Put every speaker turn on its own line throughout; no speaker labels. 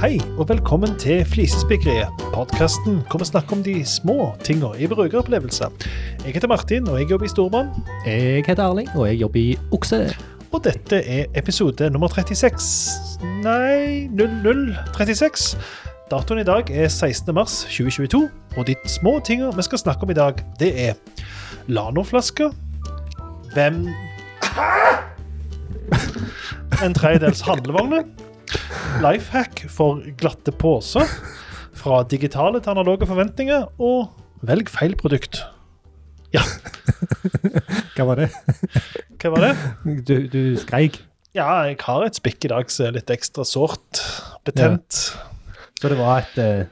Hei, og velkommen til Flisespikkeriet. Podkasten hvor vi snakker om de små tinga i brukeropplevelser. Jeg heter Martin, og jeg jobber i Stormann.
Jeg heter Erling, og jeg jobber i Okse.
Og dette er episode nummer 36 Nei, 0036. Datoen i dag er 16. mars 2022, og de små tinga vi skal snakke om i dag, det er Lano-flasker Hvem En tredjedels handlevogner. Lifehack for glatte poser. Fra digitale til analoge forventninger. Og velg feil produkt.
Hva var det?
Hva var det?
Du, du skreik.
Ja, jeg har et spikk i dag som er litt ekstra sårt. Betent.
Så det var et eh,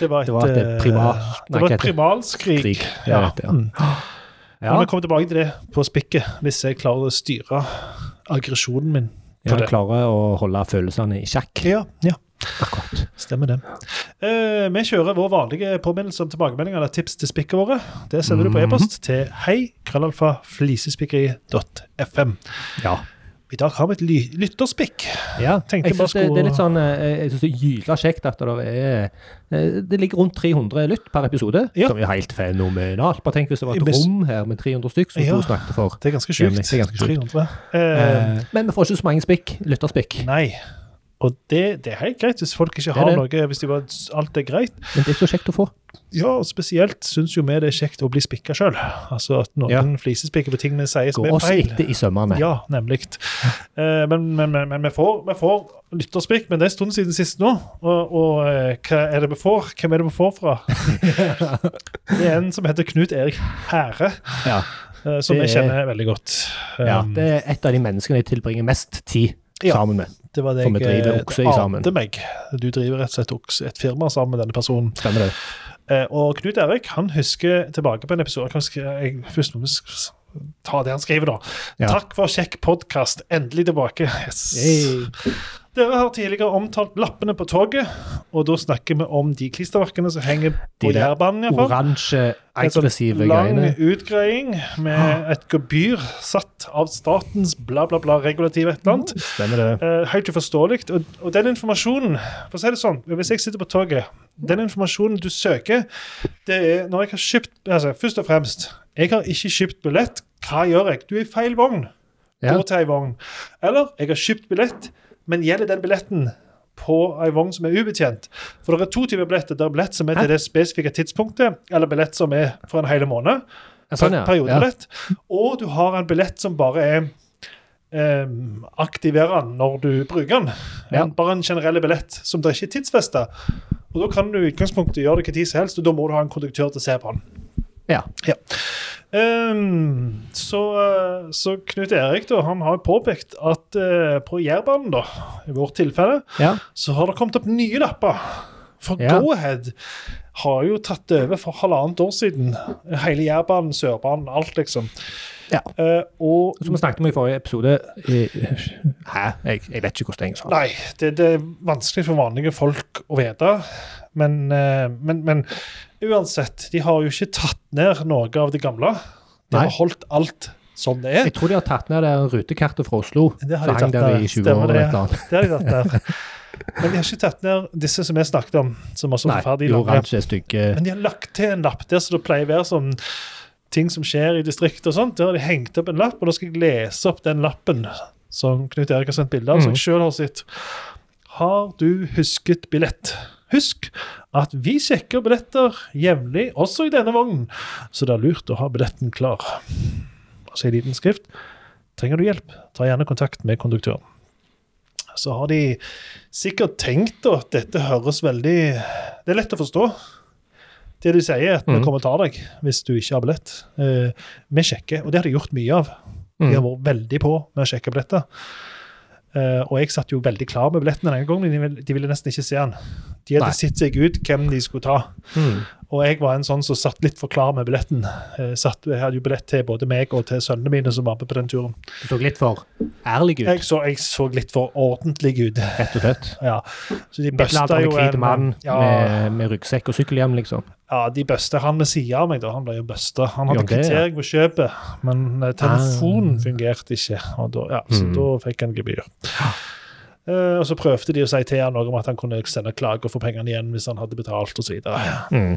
Det var et,
Det var et, eh,
eh,
primal-
det var
nei, hva
et
heter det?
primalskrik.
krig.
Ja.
Jeg vet det,
Mm.
ja.
Men vi kommer tilbake til det på spikket, hvis jeg klarer å styre aggresjonen min.
ja,
på det.
klarer å holde følelsene i sjakk.
Ja, ja.
Akkurat.
Stemmer det. Eh, vi kjører vår vanlige påminnelse om tilbakemeldinger eller tips til spikket våre. Det sender
Mhm.
du på e-post til heikrøllalfaflisespikkeri.fm.
Ja.
I dag har vi et ly lytterspikk.
ja.
Tenkte
Jeg
bare
syns det, det er
skulle-
litt sånn eh, Jeg synes det er gyla kjekt at det er eh, Det ligger rundt 300 lytt per episode,
Ja.
som er jo helt fenomenalt. Bare tenk hvis det var et
Hvis-
rom her med 300 stykk som
Ja.
sto og snakket for.
Det er ganske
Det er
sjukt.
ganske sjukt.
300. Eh,
Eh, Men vi får ikke så mange spikk. Lytterspikk.
nei. Og det, det er helt greit hvis folk ikke
er
har
det.
noe, hvis de bare, alt er greit.
Men det er så kjekt å få.
Ja, og spesielt syns jo vi det er kjekt å bli spikka sjøl. Altså at noen
Ja.
flisespikker på ting vi sier som
Gå
er
oss
feil.
etter i sømmene.
Ja, nemlig. Eh, men, men, men, men vi får, vi får lytterspikk, men det er en stund siden sist nå. Og, og eh, hva er det vi får? Hvem er det vi får fra? det er en som heter Knut Erik Hære,
Ja.
eh, som
Det
jeg
er-
kjenner veldig godt.
Ja,
Um,
det er et av de menneskene jeg tilbringer mest tid
Ja.
sammen med.
det var det
for vi
jeg
driver
eh,
okse i sammen.
ante meg. Du driver rett og slett okse- et firma sammen med denne personen.
Stemmer det?
Eh, Og Knut Erik han husker tilbake på en episode Hva skal jeg, Først må vi sk- s- ta det han skriver, da.
Ja.
Takk for kjekk podkast. Endelig tilbake. Yes. sånn Dere har tidligere omtalt lappene på toget, og da snakker vi om de klisterverkene som henger på
De der
Jærbanen. i hvert fall.
Oransje,
En sånn
aggressive
lang
greiene.
utgreiing
Ah.
med et gebyr satt av statens bla, bla, bla regulativ et eller annet.
Stemmer det?
Eh, helt uforståelig. Og, og den informasjonen For å si det sånn, hvis jeg sitter på toget Den informasjonen du søker, det er når jeg har kjøpt altså, Først og fremst, jeg har ikke kjøpt billett. Hva gjør jeg? Du er i feil vogn.
Ja.
Gå til ei vogn. Eller jeg har kjøpt billett, men gjelder den billetten på ei vogn som er ubetjent? For det er to typer billetter. Det er billett som er til det spesifikke tidspunktet, eller billett som er for en hel måned.
Ja, Sånn, ja. ja.
Periodebillett. Og du har en billett som bare er um, aktiverer den når du bruker den.
Ja.
En, bare en generell billett som det ikke er tidsfesta. Og da kan du i utgangspunktet gjøre det hva tid som helst, og da må du ha en konduktør til å se på den.
Ja.
Ja. Ehm, så, eh, så Knut Erik da, han har påpekt at eh, på Jærbanen, da, i vårt tilfelle,
ja.
så har det kommet opp nye lapper. For
Ja.
Go-Ahead har jo tatt over for halvannet år siden. Hele Jærbanen, Sørbanen, alt, liksom.
Ja.
Eh, og
Som vi snakket om i forrige episode eh, Hæ? Jeg, jeg vet ikke hvordan jeg sa det.
Nei, det, det er vanskelig for vanlige folk å vite. Men, eh, men, men uansett, de har jo ikke tatt ned noe av det gamle. De
Nei.
har holdt alt som det er.
Jeg tror de har tatt ned det rutekartet fra Oslo.
Det har
som
de
hang
tatt
der
ned.
i 20
Stemmer
år
det.
eller et eller annet.
Det har de tatt ned. Men de har ikke tatt ned disse som vi snakket om, som også
Nei,
er ferdig
de
lange.
oransje stygge
Men de har lagt til en lapp der så det pleier å være sånn ting som skjer i distriktet og sånt. Der har de hengt opp en lapp, og da skal jeg lese opp den lappen som Knut Erik har sendt bilde av, som jeg sjøl har sett. Har du husket billett? Husk at vi sjekker billetter jevnlig, også i denne vognen, så det er lurt å ha billetten klar. Altså i liten skrift. Trenger du hjelp, ta gjerne kontakt med konduktøren. Så har de sikkert tenkt at dette høres veldig Det er lett å forstå. Det du sier, er at vi
Mhm.
kommer og tar deg hvis du ikke har billett. Eh, vi sjekker, og det har de gjort mye av. De har
mm.
vært veldig på med å sjekke billetter. Eh, og jeg satt jo veldig klar med billettene denne gangen, de, vil- de ville nesten ikke se den. De
Nei.
hadde sett seg ut hvem de skulle ta.
Mm.
Og jeg var en sånn som satt litt for klar med billetten. Eh, satt, jeg hadde jo billett til både meg og til sønnene mine som var med på den turen.
Du så litt for ærlig ut,
Jeg så, jeg så litt for ordentlig ut.
rett og slett.
Ja. Så de
Bøsta
bøsta jo
hvit mann
ja,
med, med ryggsekk og sykkelhjem, liksom.
ja, de bøsta han ved siden av meg, da. Han ble jo bøsta. Han hadde
Ja, det, ja. Ah.
kvittering på kjøpet, men eh, telefonen fungerte ikke. Og da, ja, så
Mm.
da fikk han gebyr. Eh, og så prøvde de å si til han noe om at han kunne sende klage og få pengene igjen hvis han hadde betalt osv.
Mm.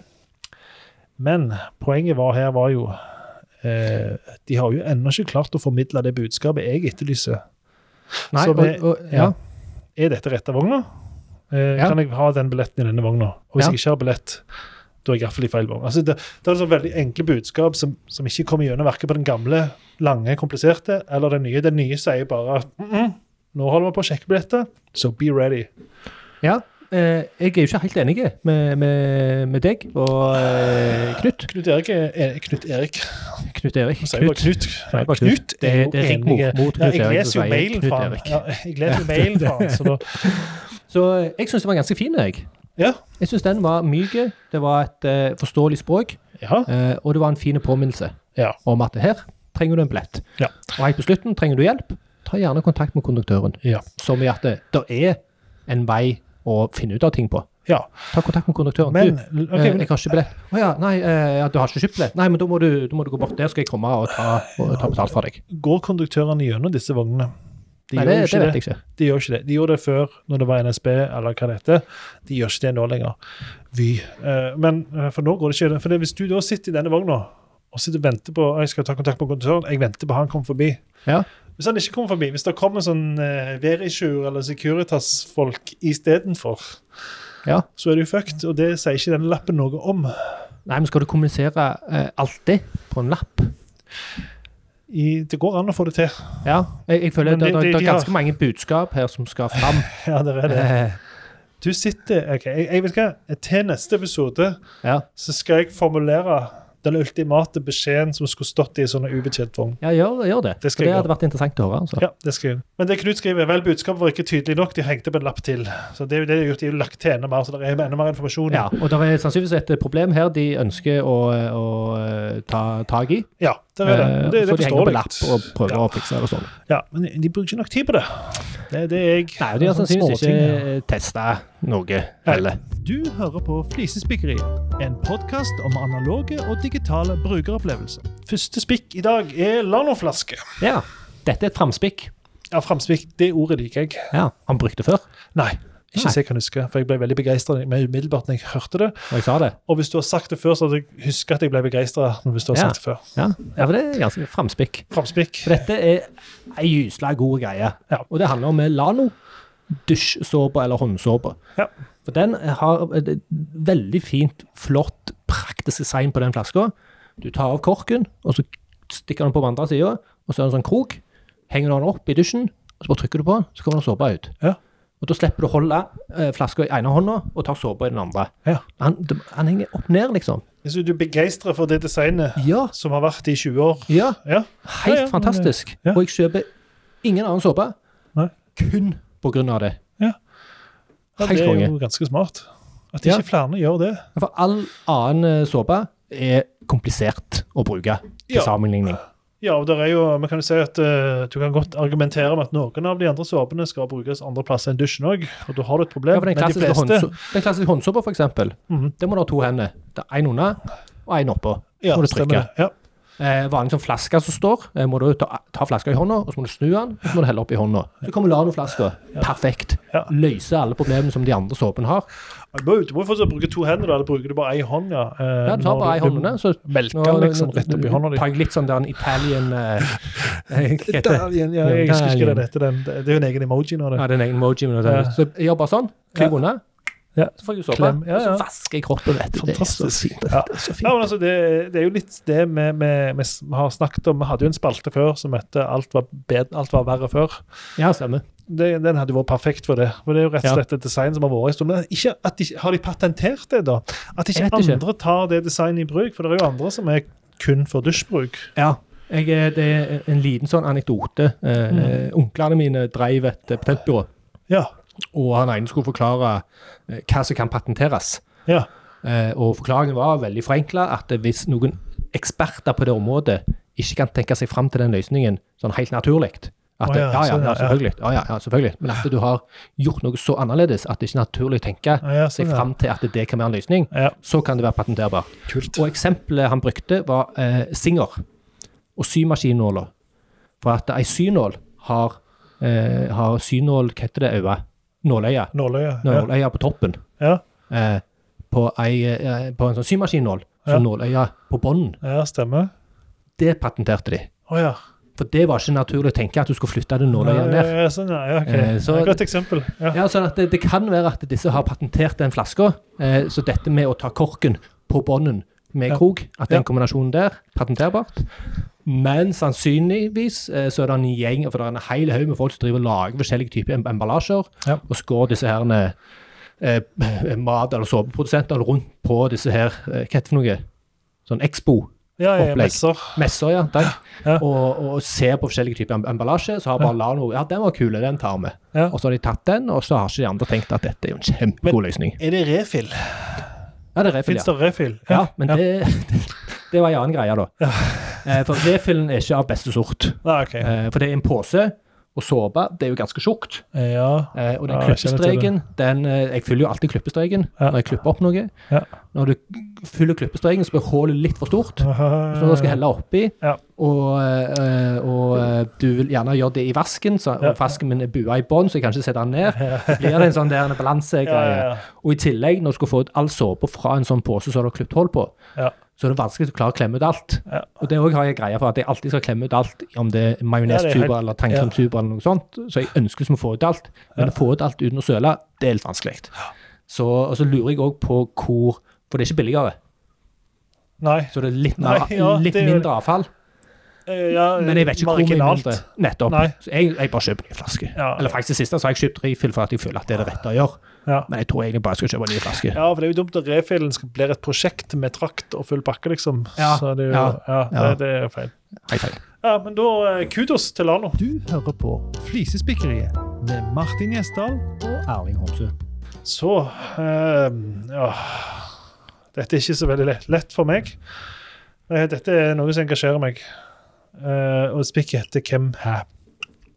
Men poenget var her var jo eh, De har jo ennå ikke klart å formidle det budskapet jeg etterlyser.
Nei,
Så
og,
vi-
og, ja.
Er dette rette vogna? Eh,
Ja.
Kan jeg ha den billetten i denne vogna? Og hvis
Ja.
jeg ikke har billett, da er jeg iallfall i feil vogn. Altså, det, det er sånn veldig enkle budskap som, som ikke kommer gjennom verken på den gamle, lange, kompliserte eller den nye. Den nye sier bare at mm -mm, nå holder vi på å sjekke billetter, så be ready.
ja. Eh, jeg er jo ikke helt enig med, med, med deg og eh, Knut.
Knut Erik er, er Knut Erik.
Knut Erik.
Han sier bare
Knut.
Knut.
Nei,
Nei,
bare
Knut
Det,
er jo
det er Rigmor
enige.
mot
Ja,
Knut
jeg
Erik.
leser
som
jo
sier
mailen
Knut
fra han.
Erik.
Ja, jeg leser jo mailen fra han, så da
Så eh, jeg syns det var ganske fin, jeg.
Ja.
Jeg syns den var myk. Det var et eh, forståelig språk,
ja.
eh, og det var en fin påminnelse
Ja.
om at her trenger du en billett.
Ja.
Og helt på slutten, trenger du hjelp, ta gjerne kontakt med konduktøren.
Ja.
Som i at det der er en vei å finne ut av ting på.
ja.
Ta kontakt med konduktøren.
Men,
du,
ok,
eh,
men
jeg har ikke billett. Å ja, nei, eh, ja, du har ikke kjøpt billett. Nei, men da må du, da må du gå bort der, skal jeg komme og ta, og ta betalt fra deg.
går konduktørene gjennom disse vognene? De gjør
nei,
jo
det, det
ikke det.
vet jeg ikke.
De gjør ikke det. De gjorde det før, når det var NSB eller hva det heter. De gjør ikke det nå lenger. Vy. Eh, Men eh, For nå går det ikke gjennom. For det, hvis du da sitter i denne vogna og sitter og venter på jeg skal ta kontakt med konduktøren, jeg venter på han kommer forbi.
Ja.
Hvis han ikke kommer forbi, hvis det kommer sånn eh, Verisure eller Securitas-folk istedenfor,
Ja.
så er du fucked. Og det sier ikke denne lappen noe om.
Nei, men skal du kommunisere eh, alltid på en lapp?
I, det går an å få det til.
Ja, jeg, jeg føler
Men
det,
de-
det,
de- de
det er
har-
ganske mange budskap her som skal fram.
Ja, det er det.
Eh,
Du sitter OK, jeg, jeg vet hva. Til neste episode
ja.
så skal jeg formulere den ultimate beskjeden som skulle stått i en sånn ubetjent vogn.
ja, gjør, gjør det.
Det
Det,
skal
det
jeg
hadde vært interessant å høre. Altså.
Ja, det skal jeg. Men det Knut skriver, vel, budskapet var ikke tydelig nok. De hengte opp en lapp til. Så det er jo det de har gjort. De har lagt til enda mer, så det er enda mer informasjon.
Ja, og det er sannsynligvis et problem her de ønsker å, å eh, ta tak i.
Ja, der er det.
Eh,
Og Det, det
så de
forstår
henger på lapp
jeg.
og prøver å fikse det og sånn.
Ja, men de bruker ikke nok tid på det. Det er det er jeg
Nei, og de har
sånne
sannsynligvis
småting.
ikke testa noe heller.
Du hører på Flisespikkeriet, en podkast om analoge og digitale brukeropplevelser. Første spikk i dag er Lanoflaske.
Ja. Dette er et framspikk.
Ja, framspikk, det ordet liker jeg.
Ja, han brukte før,
Nei, ikke
Nei.
så jeg kan huske, for jeg ble veldig begeistra umiddelbart når jeg hørte det.
og jeg sa det.
Og hvis du har sagt det før, så hadde jeg huska at jeg ble begeistra.
Ja.
før.
Ja, ja for det er ganske framspikk.
Framspikk.
For dette er ei gysla god greie.
Ja.
Og det handler om Lano. Dusjsåpe eller håndsåpe.
Ja.
For den har et veldig fint, flott, praktisk design på den flaska. Du tar av korken, og så stikker den på på andre sida, og så er det en sånn krok. Henger du den opp i dusjen, og så bare trykker du på, så kommer den såpa ut.
Ja.
Og da slipper du å holde eh, flaska i ene hånda og tar såpa i den andre.
Ja.
Han, han henger opp ned, liksom.
Hvis du er begeistra for det designet
Ja.
som har vært i 20 år
Ja.
Ja, Ja,
Helt
ja, men,
fantastisk.
ja.
Og jeg kjøper ingen annen såpe.
Nei.
Kun på grunn av det.
ja
Helt
det er
konge.
jo ganske smart. At
Ja.
ikke flere gjør det.
For all annen eh, såpe er komplisert å bruke til
Ja.
sammenligning.
Ja, og der er jo, man kan jo si at eh, Du kan godt argumentere med at noen av de andre såpene skal brukes andre plasser enn dusjen òg, og da har du et
Ja,
problem.
for
men
den
de
klassiske,
fleste
håndså- den klassiske håndsåpa, for eksempel,
Mhm.
det må du ha to hender. Det er én under og én oppå.
ja,
må du
stemmer
trykke.
det. Ja.
Eh, vanlig som flaske som står, eh, må du ta, ta flaska i hånda, og så må du snu den, og så må du helle opp i hånda. Så kommer Lano-flaska. Perfekt.
Ja.
Løser alle problemene som de andre såpene har.
Du må jo- du må jo fortsatt bruke to hender, da, eller bruker du bare ei hånd? Ja, Eh,
Ja, du tar
når
bare ei hånd, så
Melker den liksom rett opp i hånda di.
Tar jeg litt sånn der en Italian eh, eh, hva heter det?
Italien, ja, jeg husker ikke det det heter. Den, det er jo en egen emoji nå.
Ja,
Det.
det er en egen emoji. Men det er-
Ja.
Så jeg gjør bare sånn. Klyv
Ja.
unna.
Ja.
Så får jeg jo såpe.
Klem, ja, ja.
Og så vasker jeg kroppen. Vet du. Det er så
Fantastisk.
fint. Det
Ja.
er så
Ja,
fint.
men altså, det, det er jo litt det vi, vi, vi s- har snakket om. Vi hadde jo en spalte før som het Alt var, bed- alt var verre før.
Ja, stemmer.
Det, den hadde jo vært perfekt for det. For det er jo rett
Ja.
og slett et design som har vært en stund. Men ikke, at de, har de patentert det, da? At ikke
Jeg vet ikke.
andre tar det designet i bruk? For det er jo andre som er kun for dusjbruk.
Ja. Jeg, eh, det er en liten sånn anekdote. Eh,
Mm.
eh, Onklene mine drev et eh, patentbyrå,
Ja.
og han ene skulle forklare eh, hva som kan patenteres.
Ja.
Eh, og forklaringen var veldig forenkla at hvis noen eksperter på det området ikke kan tenke seg fram til den løsningen sånn helt naturlig at
Å
det,
ja,
ja, ja,
sånn,
ja,
ja,
selvfølgelig. Ja, ja, ja, selvfølgelig. Men at du har gjort noe så annerledes at det ikke er naturlig å tenke
Ja, ja,
seg
sånn, ja.
fram til at det kan være en løsning,
Ja.
så kan det være patenterbart.
Kult.
Og eksempelet han brukte, var eh, Singer og symaskinnåla. For at ei synål har eh, har synål Hva heter det? Øye? Nåløye.
Nåløye. Ja.
Nåløye på toppen.
Ja.
Eh, på, ei, eh, på en sånn symaskinnål. Så
Ja.
nåløye på bånden.
ja, stemmer.
Det patenterte de.
Å ja.
For det var ikke naturlig å tenke at du skulle flytte det nåløyet ned.
Ja, ja, sånn, ja, ja, ok.
Eh, så-
Det er et Godt eksempel. Ja.
Ja, sånn at det, det kan være at disse har patentert den flaska. Eh, så dette med å ta korken på bånden med
Ja.
krok, at den
Ja.
kombinasjonen der, patenterbart. Men sannsynligvis eh, så er det en gjeng, for det er en hel haug med folk som driver og lager forskjellige typer em- emballasjer,
Ja.
og skår disse her eh, mat- eller såpeprodusenter rundt på disse her, eh, hva heter det for noe? Sånn Expo.
Ja, ja,
Opplegg.
messer.
Messer, ja. Takk.
Ja.
Og, og ser på forskjellige typer em- emballasje. Så har bare Lano Ja, den var kul, den tar vi.
Ja.
Og så har de tatt den, og så har ikke de andre tenkt at dette er jo en kjempegod løsning.
Er det refill?
Ja, det er refill,
Fins
ja.
det refill?
ja men Det, det var en annen greie, da. Eh, For refillen er ikke av beste sort.
Nei, Ah, ok.
Eh, For det er en pose, og såpe det er jo ganske tjukt.
Ja.
Eh, Og den
Ja, jeg kjenner til
klippestreken den, eh, Jeg fyller jo alltid klippestreken
Ja.
når jeg klipper opp noe.
Ja.
Når du fyller klippestreken, så blir hullet litt for stort. Som du skal helle oppi.
Ja.
Og, eh, og eh, du vil gjerne gjøre det i vasken, så
Ja.
og vasken min er bua i bånn, så jeg kan ikke sette den ned.
Ja,
Så blir det en sånn der en
ja,
balansegreie.
ja.
Og i tillegg, når du skal få ut all såpe fra en sånn pose som du har klippet hull på,
Ja.
så er det vanskelig å klare å klemme ut alt.
Ja.
Og det òg har jeg greie for, at jeg alltid skal klemme ut alt, om det er
Ja, det er
majonestuber
helt-
eller tannkremtuber eller noe sånt. Så jeg ønsker liksom å få ut alt, men å få ut alt uten å søle, det er litt vanskelig. Så, og så lurer jeg òg på hvor For det er ikke billigere,
Nei.
så det er litt, mer,
Nei, ja,
litt
det er jo-
mindre avfall.
Eh, Ja,
Men jeg vet ikke hvor mye
marginalt.
mindre. Nettopp.
Nei.
Så jeg, jeg bare kjøper nye flasker.
Ja.
Eller faktisk det siste så har jeg kjøpt refill for at jeg føler at det er det rette å gjøre.
Ja.
Men jeg tror egentlig bare jeg skal kjøpe nye flasker.
Ja, for det er jo dumt at refillen skal blir et prosjekt med trakt og full pakke, liksom.
Ja,
Så det er jo,
ja,
ja,
ja.
Det, det er feil.
Hei, hei.
Ja, men da eh, kudos til Lano.
Du hører på Flisespikkeriet med Martin Gjesdal
Og Erling Homsø.
Så eh, ja. Dette er ikke så veldig lett, lett for meg. Eh, Dette er noe som engasjerer meg. Eh, og spikket heter Hvem hæ?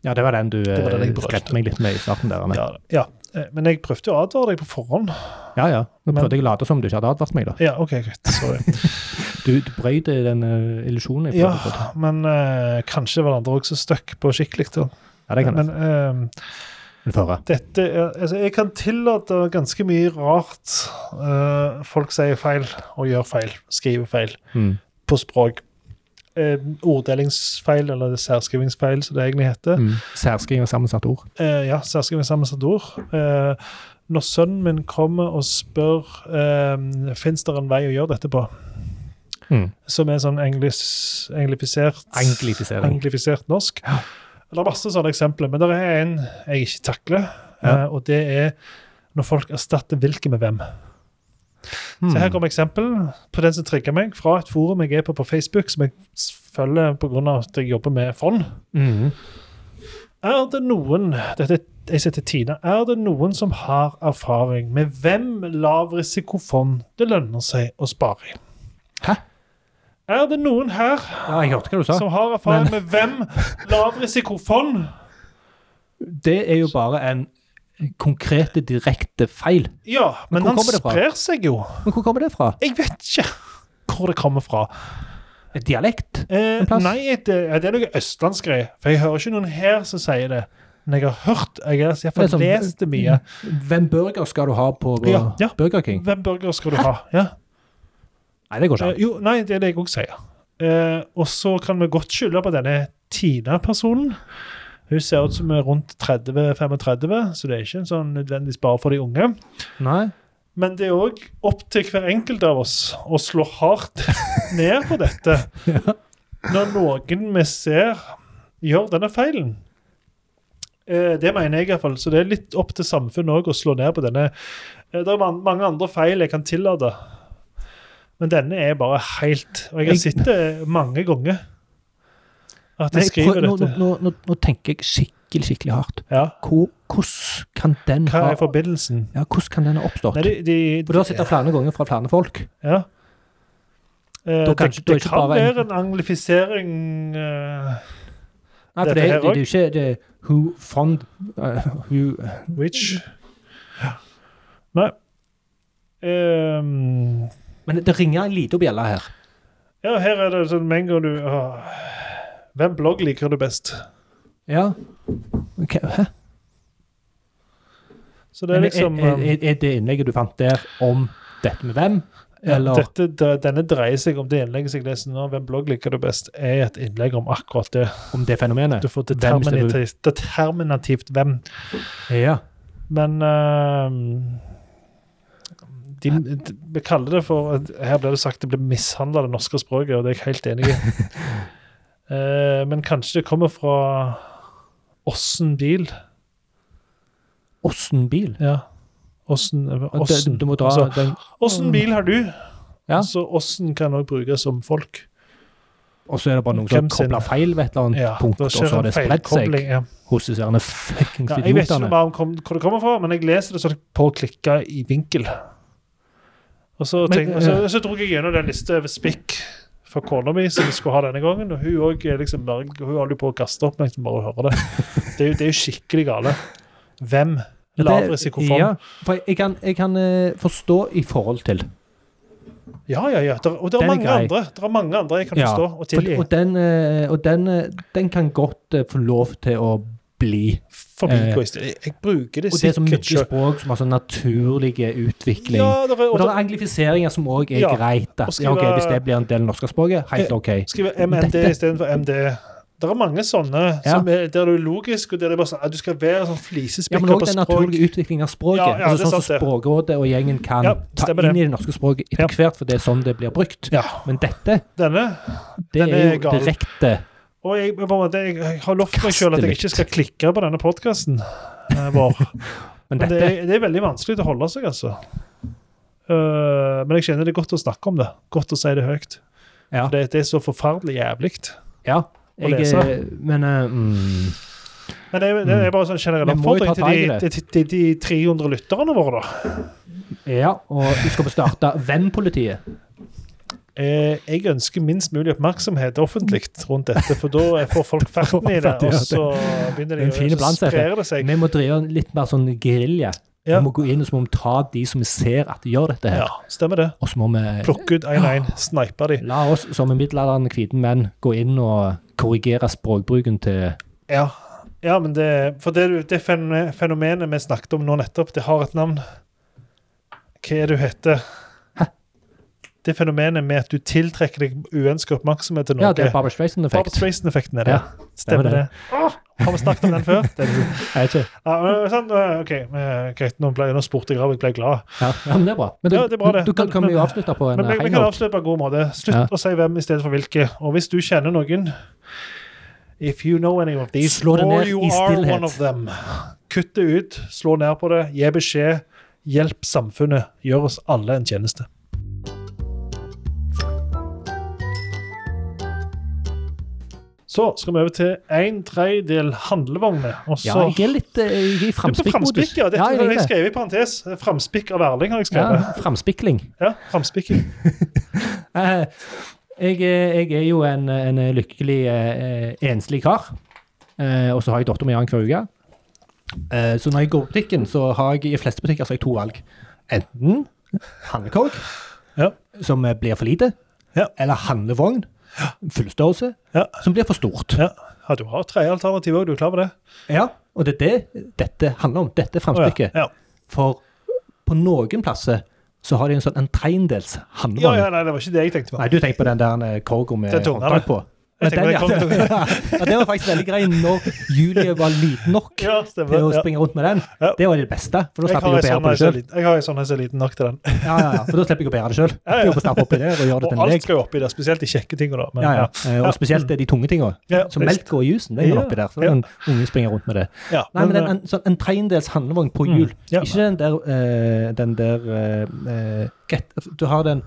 Ja, det var den du
var den jeg
eh,
brøt.
skremte meg litt med i starten der. Arne.
Ja, ja. Eh, Men jeg prøvde å advare deg på forhånd.
Ja, ja. Nå
Men-
prøvde jeg å late som du ikke hadde advart meg, da.
Ja, OK, greit. Sorry.
Du, du brøt den eh, illusjonen jeg
Ja,
prøvde å få til.
men eh, kanskje var det andre også stuck på skikkelig. da.
Ja, det kan
Men
jeg
eh,
føre.
dette er, altså Jeg kan tillate ganske mye rart eh, folk sier feil og gjør feil, skriver feil
Mm.
på språk. Eh, orddelingsfeil, eller særskrivingsfeil, som det egentlig heter.
Mm. Særskriving av sammensatte ord.
Eh, ja, særskriving sammen satt ord. Eh, når sønnen min kommer og spør uh, Fins det en vei å gjøre dette på,
Mm.
som er sånn englis, anglifisert
Anglifisering.
anglifisert norsk. Det er masse sånne eksempler, men det er en jeg ikke takler,
Ja.
eh, og det er når folk erstatter hvilke med hvem.
Mm.
Så
Hmm.
her kommer eksempel på den som trigger meg, fra et forum jeg er på på Facebook, som jeg s- følger pga. at jeg jobber med fond.
Mm.
Er det noen dette, jeg sier til Tina, er det noen som har erfaring med hvem lavrisikofond det lønner seg å spare i?
Hæ?
Er det noen her
Ja, jeg hørte hva du sa.
som har erfaring med hvem lavrisikofond
Det er jo bare en konkrete, direkte feil.
Ja, men,
Men hvor
han
kommer det fra?
sprer seg jo.
Men hvor kommer det fra?
Jeg vet ikke hvor det kommer fra.
Et dialekt?
Eh,
En plass?
nei, det, ja, det er noe østlandsgreie. For jeg hører ikke noen her som sier det. Men jeg har hørt Jeg har i hvert fall
Det er sånn-
lest det mye.
Hvem burger skal du ha på på
Ja, ja.
Burger King?
Hvem burger skal du ha? Ja.
Nei, det går ikke
Eh,
an.
jo, nei, det er det jeg òg sier. Eh, og så kan vi godt skylde på denne Tina-personen. Hun ser ut som hun er rundt 30-35, så det er ikke en sånn nødvendigvis bare for de unge.
Nei.
Men det er òg opp til hver enkelt av oss å slå hardt ned på dette. Når noen vi ser gjør denne feilen. Eh, Det mener jeg iallfall. Så det er litt opp til samfunnet òg å slå ned på denne. Eh, Det er man- mange andre feil jeg kan tillate, men denne er bare helt Og jeg har
Jeg-
sett det mange ganger at
Men
jeg
jeg prøver,
skriver
nå,
dette.
nå, nå, nå tenker jeg skikkelig, skikkelig hardt.
Ja.
Hvor, hvordan kan den
Hva
ha
er forbindelsen?
ja, hvordan kan den ha oppstått?
Nei, de, de,
For Du har sett det flere ganger fra flere folk.
Ja. Eh,
Da kan
det
ikke- da er
det
ikke
kan
bare en-
være en anglifisering eh,
Nei,
Dette
for det,
her
det, det er
også?
jo ikke det, who fond eh, who,
Which Ja. Nei. Ehm,
Men det ringer en liten bjelle her.
ja, her er det sånn med en gang du åh. Hvem blogg liker du best?
Ja. Ok, hæ?
Så det er
Men
liksom
er,
eh,
er, er det innlegget du fant der om dette med hvem? Eller
dette, de- Denne dreier seg om det innlegget som jeg leser nå. Hvem blogg liker du best? er et innlegg om akkurat det.
om det fenomenet?
Du får
Hvem stemmer du?
determinativt, determinativt hvem.
Ja.
Men eh, de, de, vi kaller det for Her blir det sagt det blir mishandla, det norske språket, og det er jeg helt enig i. Eh, men kanskje det kommer fra Åssen bil?
Åssen bil?
Ja. Åssen
Du,
Åssen
du må dra
eh, altså,
den
«Åssen bil har du?
Ja.
Så åssen kan òg brukes som folk.
Og så er det bare noen som
Hvem sin-
kobler feil ved et eller annet
Ja,
punkt,
da
og så har det spredt seg
feilkobling, Ja.
hos disse herne fuckings
Ja, jeg vet ikke noe
idiotene.
mer om kom, hvor det kommer fra, men jeg leser det sånn på å klikke i vinkel. Og så,
Men,
tenkte, og så, så dro jeg gjennom den lista over spikk for kona mi, som vi skulle ha denne gangen. Og hun òg er liksom bare- Hun holder jo på å kaste opp mens hun bare hører det. Det er jo, det er jo skikkelig gale. Hvem?
Det-
Lavrisikofond.
Ja, for jeg- jeg kan, jeg kan eh, forstå i forhold til.
Ja, ja, ja. Der, og det
Den
er
er
mange
grei.
andre. Det er mange andre jeg kan
Ja,
forstå og tilgi.
For, og den, eh, og den, eh, den kan godt eh, få lov til å bli.
Forbi
eh,
Christie. Jeg, jeg bruker det
Og det er så mye
sikkert selv.
språk som har sånn naturlig utvikling.
Ja, det er,
Og
og
det
der,
er anglifiseringer som òg er
Ja,
greit. Da.
og
Ja, ok,
skrive-
hvis det blir en del av norskspråket, helt
Eh,
OK.
skriver MND
Dette-
istedenfor MD. Det er mange sånne
Ja.
som er, der det er logisk, og der det er bare sånn at du skal være sånn
Ja,
flisespikker
Men òg
på
den
språk.
naturlige utviklingen av språket.
Ja, ja, det
altså
er
Sånn som
sant det.
Språkrådet og gjengen kan
Ja,
ta
stemmer
inn
det.
i det norske språket etter
Ja.
hvert, for det er sånn det blir brukt.
Ja,
Men dette,
denne.
det
Den
er,
er
jo
gal.
direkte
Og jeg, på en måte, jeg, jeg har lovt meg sjøl at jeg
Kastelig.
ikke skal klikke på denne podkasten vår.
Men
Men det,
dette
er- det er veldig vanskelig å holde seg, altså. Øh, men jeg kjenner det er godt å snakke om det. Godt å si det høyt.
Ja.
For det, det er så forferdelig jævlig.
Ja.
Å
Jeg,
lese.
eh, men eh, mm,
Men det, er- det er bare sånn generell
Vi må jo ta
oppfordring til de,
tak i
de, de, de 300 lytterne våre, da.
Ja, og du skal få starte Hvem-politiet.
Eh, jeg ønsker minst mulig oppmerksomhet offentlig rundt dette, for da får folk ferten i det, og så begynner de
En fin
å så
balanse, dette.
sprer det seg.
Vi må drive en litt mer sånn gerilja.
Ja.
Vi må gå inn og så må vi ta de som vi ser at gjør dette her.
Ja, stemmer det.
Og så må vi
Plukke ut én og én, snipe de.
la oss som en middelaldrende hvite menn gå inn og korrigere språkbruken til
Ja. ja, men det For det, du- det fenome- fenomenet vi snakket om nå nettopp, det har et navn. Hva er det du heter? Det fenomenet med at du tiltrekker deg uønsket oppmerksomhet til noe.
Ja, det er Barbara
Barbra
Streisand-effekt.
Streisand-effekten er det. Stemmer
det.
det. Åh, har vi snakket om den før? Det er det.
Jeg vet ikke.
Ja, men, sant, eh, ok, eh, greit, nå, ble, nå spurte jeg av, jeg ble glad.
Ja, ja, men det er bra. Men du,
Ja, det er bra, det.
du, du kan, kan vi jo
Men-
avslutte på en
Men vi,
high
vi kan
note.
avslutte på en god måte. Slutt
eh, Ja.
å si hvem i stedet for hvilke. Og hvis du kjenner noen If you know any of these,
Slå det
or
ned
you
i
are
stillhet.
one of them. Kutt det ut, slå ned på det, gi beskjed. Hjelp samfunnet. Gjør oss alle en tjeneste. Så skal vi over til en tredjedel handlevogner. Og
Ja,
så
jeg er litt eh, jeg er i
Du er på
framspikkmodus.
framspikk, ja. Dette
Ja, jeg
har jeg
liker det.
skrevet i parentes. eh, Framspikk av Erling har jeg skrevet.
Ja, framspikling.
Ja, framspikking.
Eh, Jeg, er- jeg er jo en, en lykkelig eh, enslig kar. Eh, Og så har jeg dattera mi annenhver uke. Eh, Så når jeg går på butikken, så har jeg i de fleste butikker så har jeg to valg. Enten handlekorg,
Ja.
som eh, blir for lite,
Ja.
eller handlevogn, fullstørrelse,
Ja.
som blir for stort.
Ja. ja, du har tre alternativ òg, du er klar over det?
Ja, Og det er det dette handler om. Dette
Å, ja.
framstykket.
Ja.
For på noen plasser så har de en sånn en tredjedels
ja,
handlevogn.
ja, nei, det var ikke det jeg tenkte på.
Nei, du tenker på den der eh, korga med
Den tunga,
håndtak
da.
på.
Jeg
Men
tenker på
den,
den
ja. ja, det var faktisk veldig grei når Julie var liten nok
Ja, stemmer.
til å
Ja.
springe rundt med den.
Ja.
Det var det beste, for da
Jeg
slapp jeg
har
å
en
bære
sånn
på
en
det
som er
sjøl.
liten- jeg har en sånn en som er liten nok til den.
Ja, ja, ja, for da slipper jeg å bære det sjøl.
Ja, ja.
Og,
Og alt skal jo oppi der, spesielt de kjekke tingene da. Men,
ja, ja. Eh, og spesielt de tunge tinga.
Ja,
Som
visst.
melk og jusen. Det går
Ja,
oppi der. Så
ja.
kan ungen springe rundt med det.
Ja,
Nei, men
men, eh, Mm,
en, en, sånn, en tredjedels handlevogn på hjul.
ja.
Ikke den der, eh, den der eh, get, Du har den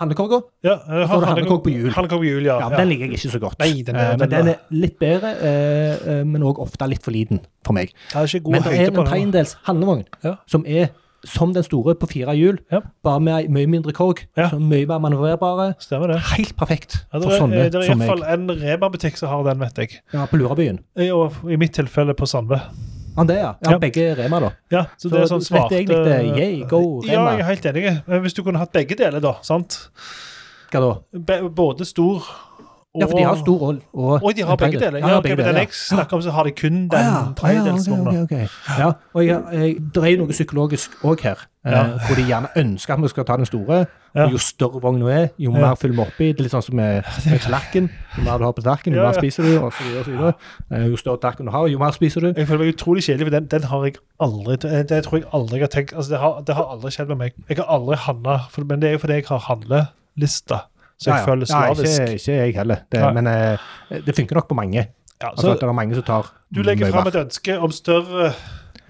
handlekorga.
ja, eh, jeg
så har
har
du handlekokk på hjul.
Handlekokk på hjul, ja.
Ja, men Den liker jeg ikke så godt.
Nei, den er-
Eh, men
den
den
er-
er litt bedre, eh, eh, men òg ofte litt for liten for meg.
Jeg har ikke god
Men det er
høyde
en
på den.
tredjedels handlevogn
Ja.
som er som den store på fire hjul,
Ja.
bare med ei mye mindre korg.
Ja.
så Mye mer manøvrerbare.
Stemmer det.
Helt perfekt
Ja, det
for
er,
sånne
det er i
som
hvert fall
meg.
en Rema-butikk som har den, vet jeg.
Ja, på Lurabyen.
I- Og i mitt tilfelle på Sandve.
Han det, ja. ja.
Ja.
Begge Rema, da.
Ja, så, det er sånn
dette
svarte
jeg likte. Yay, go,
Ja, jeg
Rema.
er helt enig. Men hvis du kunne hatt begge deler, da. sant?
Hva da?
Be- Både stor
Ja, for de har stor ål. Og,
Oi, de har begge deler. Ja, ok, men den jeg snakker om, så har de kun den tredjedelsvogna.
Ja, Ah, ok, ok, ok. ja, og jeg, jeg dreier noe psykologisk òg her, eh,
Ja.
hvor de gjerne ønsker at vi skal ta den store.
Ja.
Og jo større vogna er, jo
Ja.
mer fyller vi oppi. Det er litt sånn som med, med tallerken. Jo mer du har på tallerken, jo
Ja,
mer
ja.
spiser du, og så videre, og så videre. Eh, Jo større tallerken du har, jo mer spiser du.
Jeg føler meg utrolig kjedelig, for den, den har jeg aldri det, det tror jeg aldri jeg har tenkt altså det, har, det har aldri skjedd med meg. Jeg har aldri handla, men det er jo fordi jeg har handlelista, så jeg
Ja, ja.
føler slavisk.
Nei, ikke, ikke jeg heller. Det,
Nei.
men eh, det funker nok på mange.
Ja,
Altså,
så
at det er mange som tar
du legger
mye
fram
mer.
et ønske om større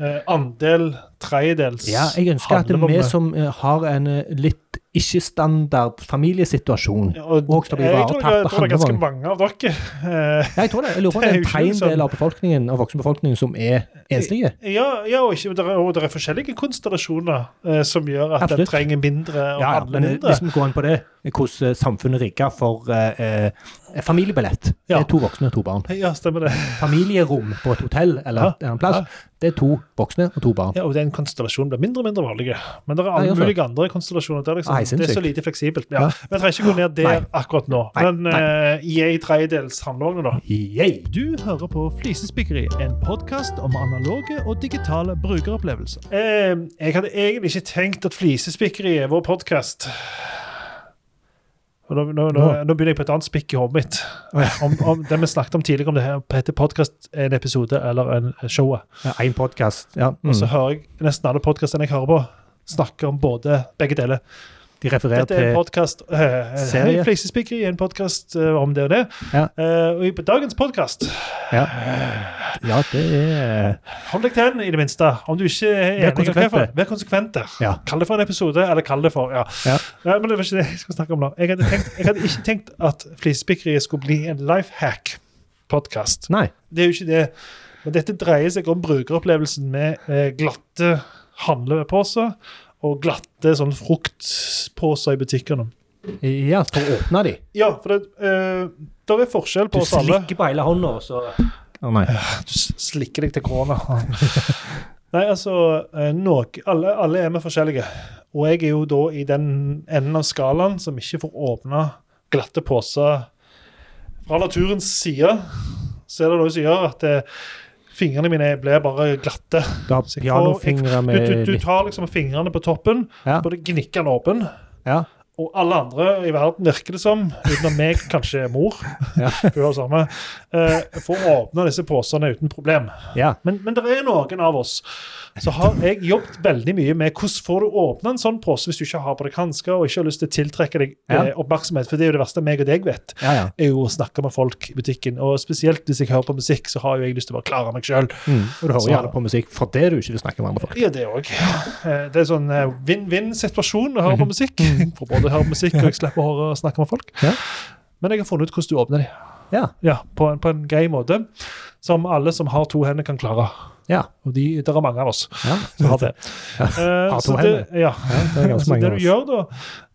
eh, andel tredjedels
Ja, jeg ønsker at vi
handlevogne.
som eh, har en eh, litt ikke-standard familiesituasjon
Ja, og,
og skal bli
jeg, jeg, tror det,
ivaretatt
jeg
på
tror det er ganske
handlevogn
mange av dere. Eh,
Ja, jeg tror det. Jeg lurer på om
Det
det er en
er jo ikke
tredjedel
sånn.
av befolkningen, av voksenbefolkningen som er enslige.
Eh, Ja, ja og, ikke, det er, og det er forskjellige konstellasjoner eh, som gjør at
Absolutt.
den trenger mindre og
Ja, ja,
handler
men eh,
mindre.
hvis vi går inn på det, eh, hvordan eh, samfunnet rigger for eh, eh, familiebillett Det
Ja.
er to voksne og to barn.
Ja, stemmer det.
Familierom på et hotell eller en annen plass, det er to voksne og to barn.
Ja, og den konstellasjonen blir mindre og mindre vanlig. Men det er alle
Nei, altså.
mulige andre konstellasjoner. Der, liksom.
Nei,
det er
sinnssykt.
så lite fleksibelt. Ja. Vi trenger ikke gå ned der
Nei.
akkurat nå.
Nei,
Men eh, i ei tredjedels handlevogn, da.
Yay!
Du hører på Flisespikkeri, en podkast om analoge og digitale brukeropplevelser.
Eh, jeg hadde egentlig ikke tenkt at flisespikkeri er vår podkast. Nå, nå, nå,
Nå.
nå begynner jeg på et annet spikk i hodet mitt. Om, om det vi snakket om tidligere, om det her heter podkast en episode eller en showet.
Én podkast. Ja.
Og så
Mm.
hører jeg nesten alle podkastene jeg hører på, snakke om både begge deler.
De refererer
Dette er en
til
podkast Hei,
Serie.
Flisespikkeri er en podkast om det og det.
Ja.
Eh, og i dagens podkast
ja. ja, det er
Hold deg til den, i det minste. Om du ikke er
Vær
enig. i
konsekvente.
hva- Vær konsekvente.
Ja.
Kall det for en episode, eller kall det for ja.
Ja.
Nei, men det var ikke det jeg skulle snakke om nå. Jeg hadde, tenkt, jeg hadde ikke tenkt at Flisespikkeriet skulle bli en lifehack podcast
Nei.
Det er jo ikke det. Men dette dreier seg om brukeropplevelsen med eh, glatte handleposer og glatte sånn fruktposer i butikkene.
Ja, for å åpne de.
Ja, for det, eh, der er forskjell
Du
på oss alle.
slikker på hele hånda, og så Å nei.
Du s- slikker deg til korona. Nei, altså eh, nok, alle, alle er vi forskjellige. Og jeg er jo da i den enden av skalaen som ikke får åpna glatte poser fra naturens side. Så er det noe som gjør at eh, fingrene mine blir bare glatte.
Du har
Så jeg får-
pianofingre
Du,
med
du, du tar liksom fingrene på toppen,
Ja.
bare gnikker den åpen.
Ja.
Og alle andre i verden, virker det som, utenom meg, kanskje mor,
Ja.
for hun har samme, eh, får åpna disse posene uten problem.
ja.
Men, men det er noen av oss så har jeg jobbet veldig mye med hvordan får du åpne en sånn pose hvis du ikke har på deg hansker og ikke har lyst til å tiltrekke deg
Ja.
eh, oppmerksomhet, for det er jo det verste meg og deg vet
ja, ja.
er jo å snakke med folk i butikken. Og spesielt hvis jeg hører på musikk, så har jo jeg lyst til å bare klare meg sjøl.
Mm. Og du hører
Så-
gjerne på musikk fordi du ikke vil snakke med andre folk.
Ja, det òg. Det er sånn eh, vinn-vinn-situasjon å høre på musikk. For både å høre på musikk og jeg slipper å høre- snakke med folk.
Mhm. Ja.
Men jeg har funnet ut hvordan du åpner de.
Ja.
Ja, på en, på en grei måte. Som alle som har to hender, kan klare.
Ja.
Og de, det er mange av oss
ja.
som har det.
Ja,
Eh,
har to
så det- Ja.
Det er ganske
Så
mange
det
av
du
oss.
gjør, da,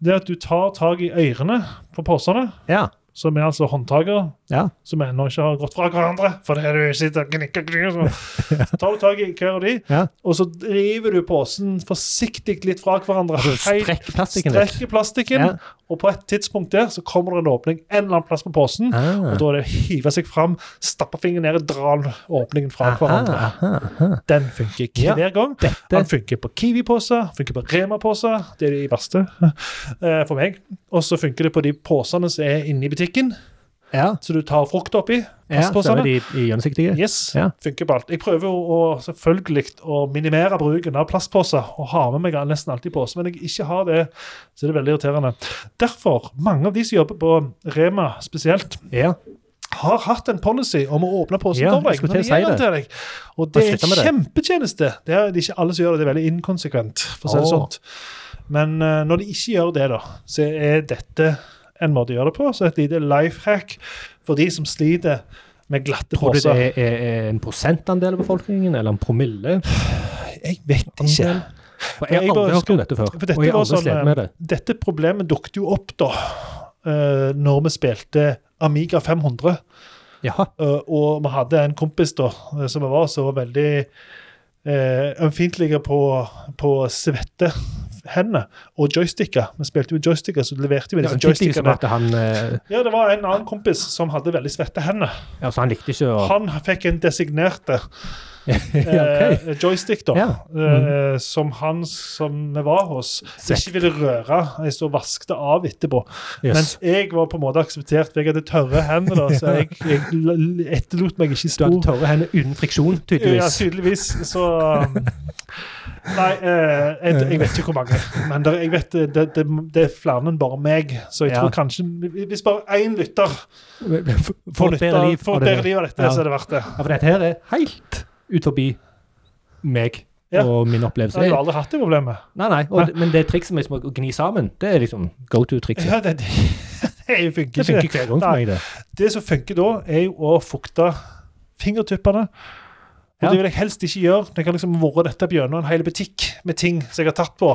det er at du tar tak i ørene på posene,
Ja.
som er altså håndtakere,
ja.
som ennå ikke har gått fra hverandre. For det er du sitter og gnikker, gnikker, sånn. Så tar du tak i hver av de,
Ja.
og så driver du posen forsiktig litt fra hverandre.
Altså,
Helt-
strekk plastikken litt.
strekker plastikken,
Ja.
og på et tidspunkt der så kommer det en åpning en eller annen plass på posen.
Ah.
Og da er det å hive seg fram, stappe fingeren ned og dra åpningen fra hverandre.
Aha, aha.
Den funker ikke
Ja.
hver gang.
Dette
Den funker på Kiwi-poser, funker på Rema-poser, det er de verste eh, for meg. Og så funker det på de posene som er inne i butikken,
Ja.
så du tar frukt oppi.
ja så er
Plastposene.
de i gjennomsiktige.
Yes,
Ja.
funker på alt. Jeg prøver jo å, selvfølgelig å minimere bruken av plastposer, og har med meg nesten alltid pose, men jeg ikke har det, så er det veldig irriterende. Derfor, mange av de som jobber på Rema spesielt,
Ja.
har hatt en policy om å åpne posen
Ja,
for
jeg
deg.
skulle
når de
til å si
gir den
det.
til deg. Og det
Jeg
er
slutter
en
med det.
kjempetjeneste. Det er det er ikke alle som gjør det. Det er veldig inkonsekvent. for å si det
Åh.
sånt. Men eh, når de ikke gjør det, da, så er dette en måte å gjøre det på. Så et lite life hack for de som sliter med glatte
Tror du det
poser.
er, er, er en prosentandel av befolkningen, eller en promille?
Jeg vet ikke.
For jeg
Jeg
har
bare
aldri hørt
skal-
om dette før.
For dette
og jeg har
var
aldri
sånn,
slitt med det.
Dette problemet dukket jo opp da eh, når vi spilte Amiga 500.
Jaha.
Uh, og vi hadde en kompis da, uh, som eh, jeg var, som var veldig uh, ømfintlig på, på svette. hendene og joysticker. Vi spilte jo med joysticker, så leverte vi
Det
disse
var tidligere
joystickene.
at han, eh,
Ja, det var en annen kompis som hadde veldig svette hender.
altså, han likte ikke å
Han fikk en designerte
Ja, ok.
eh, joystick, da,
Ja. Mm.
eh, som han som vi var hos,
Svett.
ikke ville røre. Jeg så vaskte av etterpå. Mens
Yes.
jeg var på en måte akseptert, for jeg hadde tørre hender, da, så jeg, jeg l- l- etterlot meg ikke i
Du
spor.
hadde tørre hender uten friksjon,
Ja,
tydeligvis.
tydeligvis. Så um, Nei, eh, jeg, jeg vet ikke hvor mange. Men der, jeg vet, det, det, det er flere enn bare meg. Så jeg
Ja.
tror kanskje Hvis bare én lytter
Få
får
et
nytte
bedre
av-
liv.
får
av
et
det.
bedre liv av dette,
Ja.
så er det verdt det.
Ja, for dette her er helt ut forbi meg
Ja.
og min
Jeg
opplevelse.
har jo aldri hatt det problemet.
Nei, nei, og, Men det trikset med liksom å gni sammen, det er liksom go to-trikset.
Ja, det, det, det funker
Det
ikke.
funker hver gang for
Nei.
meg, det.
Det som funker da, er jo å fukte fingertuppene. Og
Ja.
det vil jeg helst ikke gjøre. Jeg har liksom vært dette opp gjennom en hel butikk med ting som jeg har tatt på.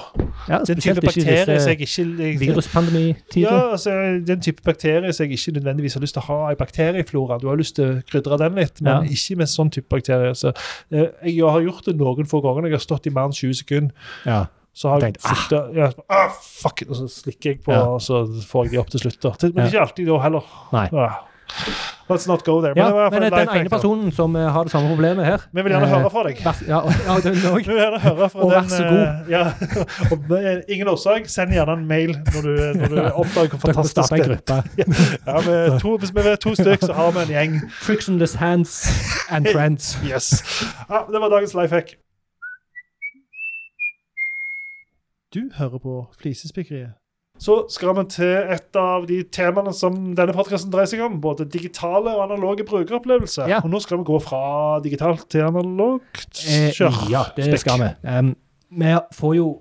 Ja,
Det er en type
spesielt ikke i
bakterier som
disse
jeg ikke jeg,
viruspandemitider.
Ja, altså, det er en type bakterie som jeg ikke nødvendigvis har lyst til å ha i bakterieflora. Du har lyst til å krydre den litt, men
Ja.
ikke med sånn type bakterier. Så, eh, jeg har gjort det noen få ganger. når Jeg har stått i mer enn 20 sekunder.
Ja.
Så har jeg
Tenkt,
fukta, ja, ah, fuck, og så slikker jeg på,
Ja.
og så får jeg de opp til slutt. Da. Men
Ja.
ikke alltid da heller.
Nei.
Ah. Let's not go there.
Ja,
det var i hvert
men
fall en
den
lifehack,
ene
da.
personen som eh, har det samme problemet her
Vi vil gjerne
eh,
høre fra deg.
vær- Ja, ja, den
Vi
òg.
vil gjerne høre fra
Og vær
den,
så
eh,
god.
Ja, og det er ingen årsak, send gjerne en mail når du, når du oppdager hvor
Dere
fantastisk
starta
det
en
er.
gruppe.
Ja, vi to, hvis vi er to stykk, så har vi en gjeng.
Frictionless hands and friends.
Yes. Ja, det var dagens life hack. Du hører på Flisespikkeriet. Så skal vi til et av de temaene som denne podkasten dreier seg om. Både digitale og analoge brukeropplevelser.
Ja.
Og nå skal vi gå fra digitalt til analogt.
Eh,
Kjør.
ja, det
Spekk.
skal vi. Em, vi får jo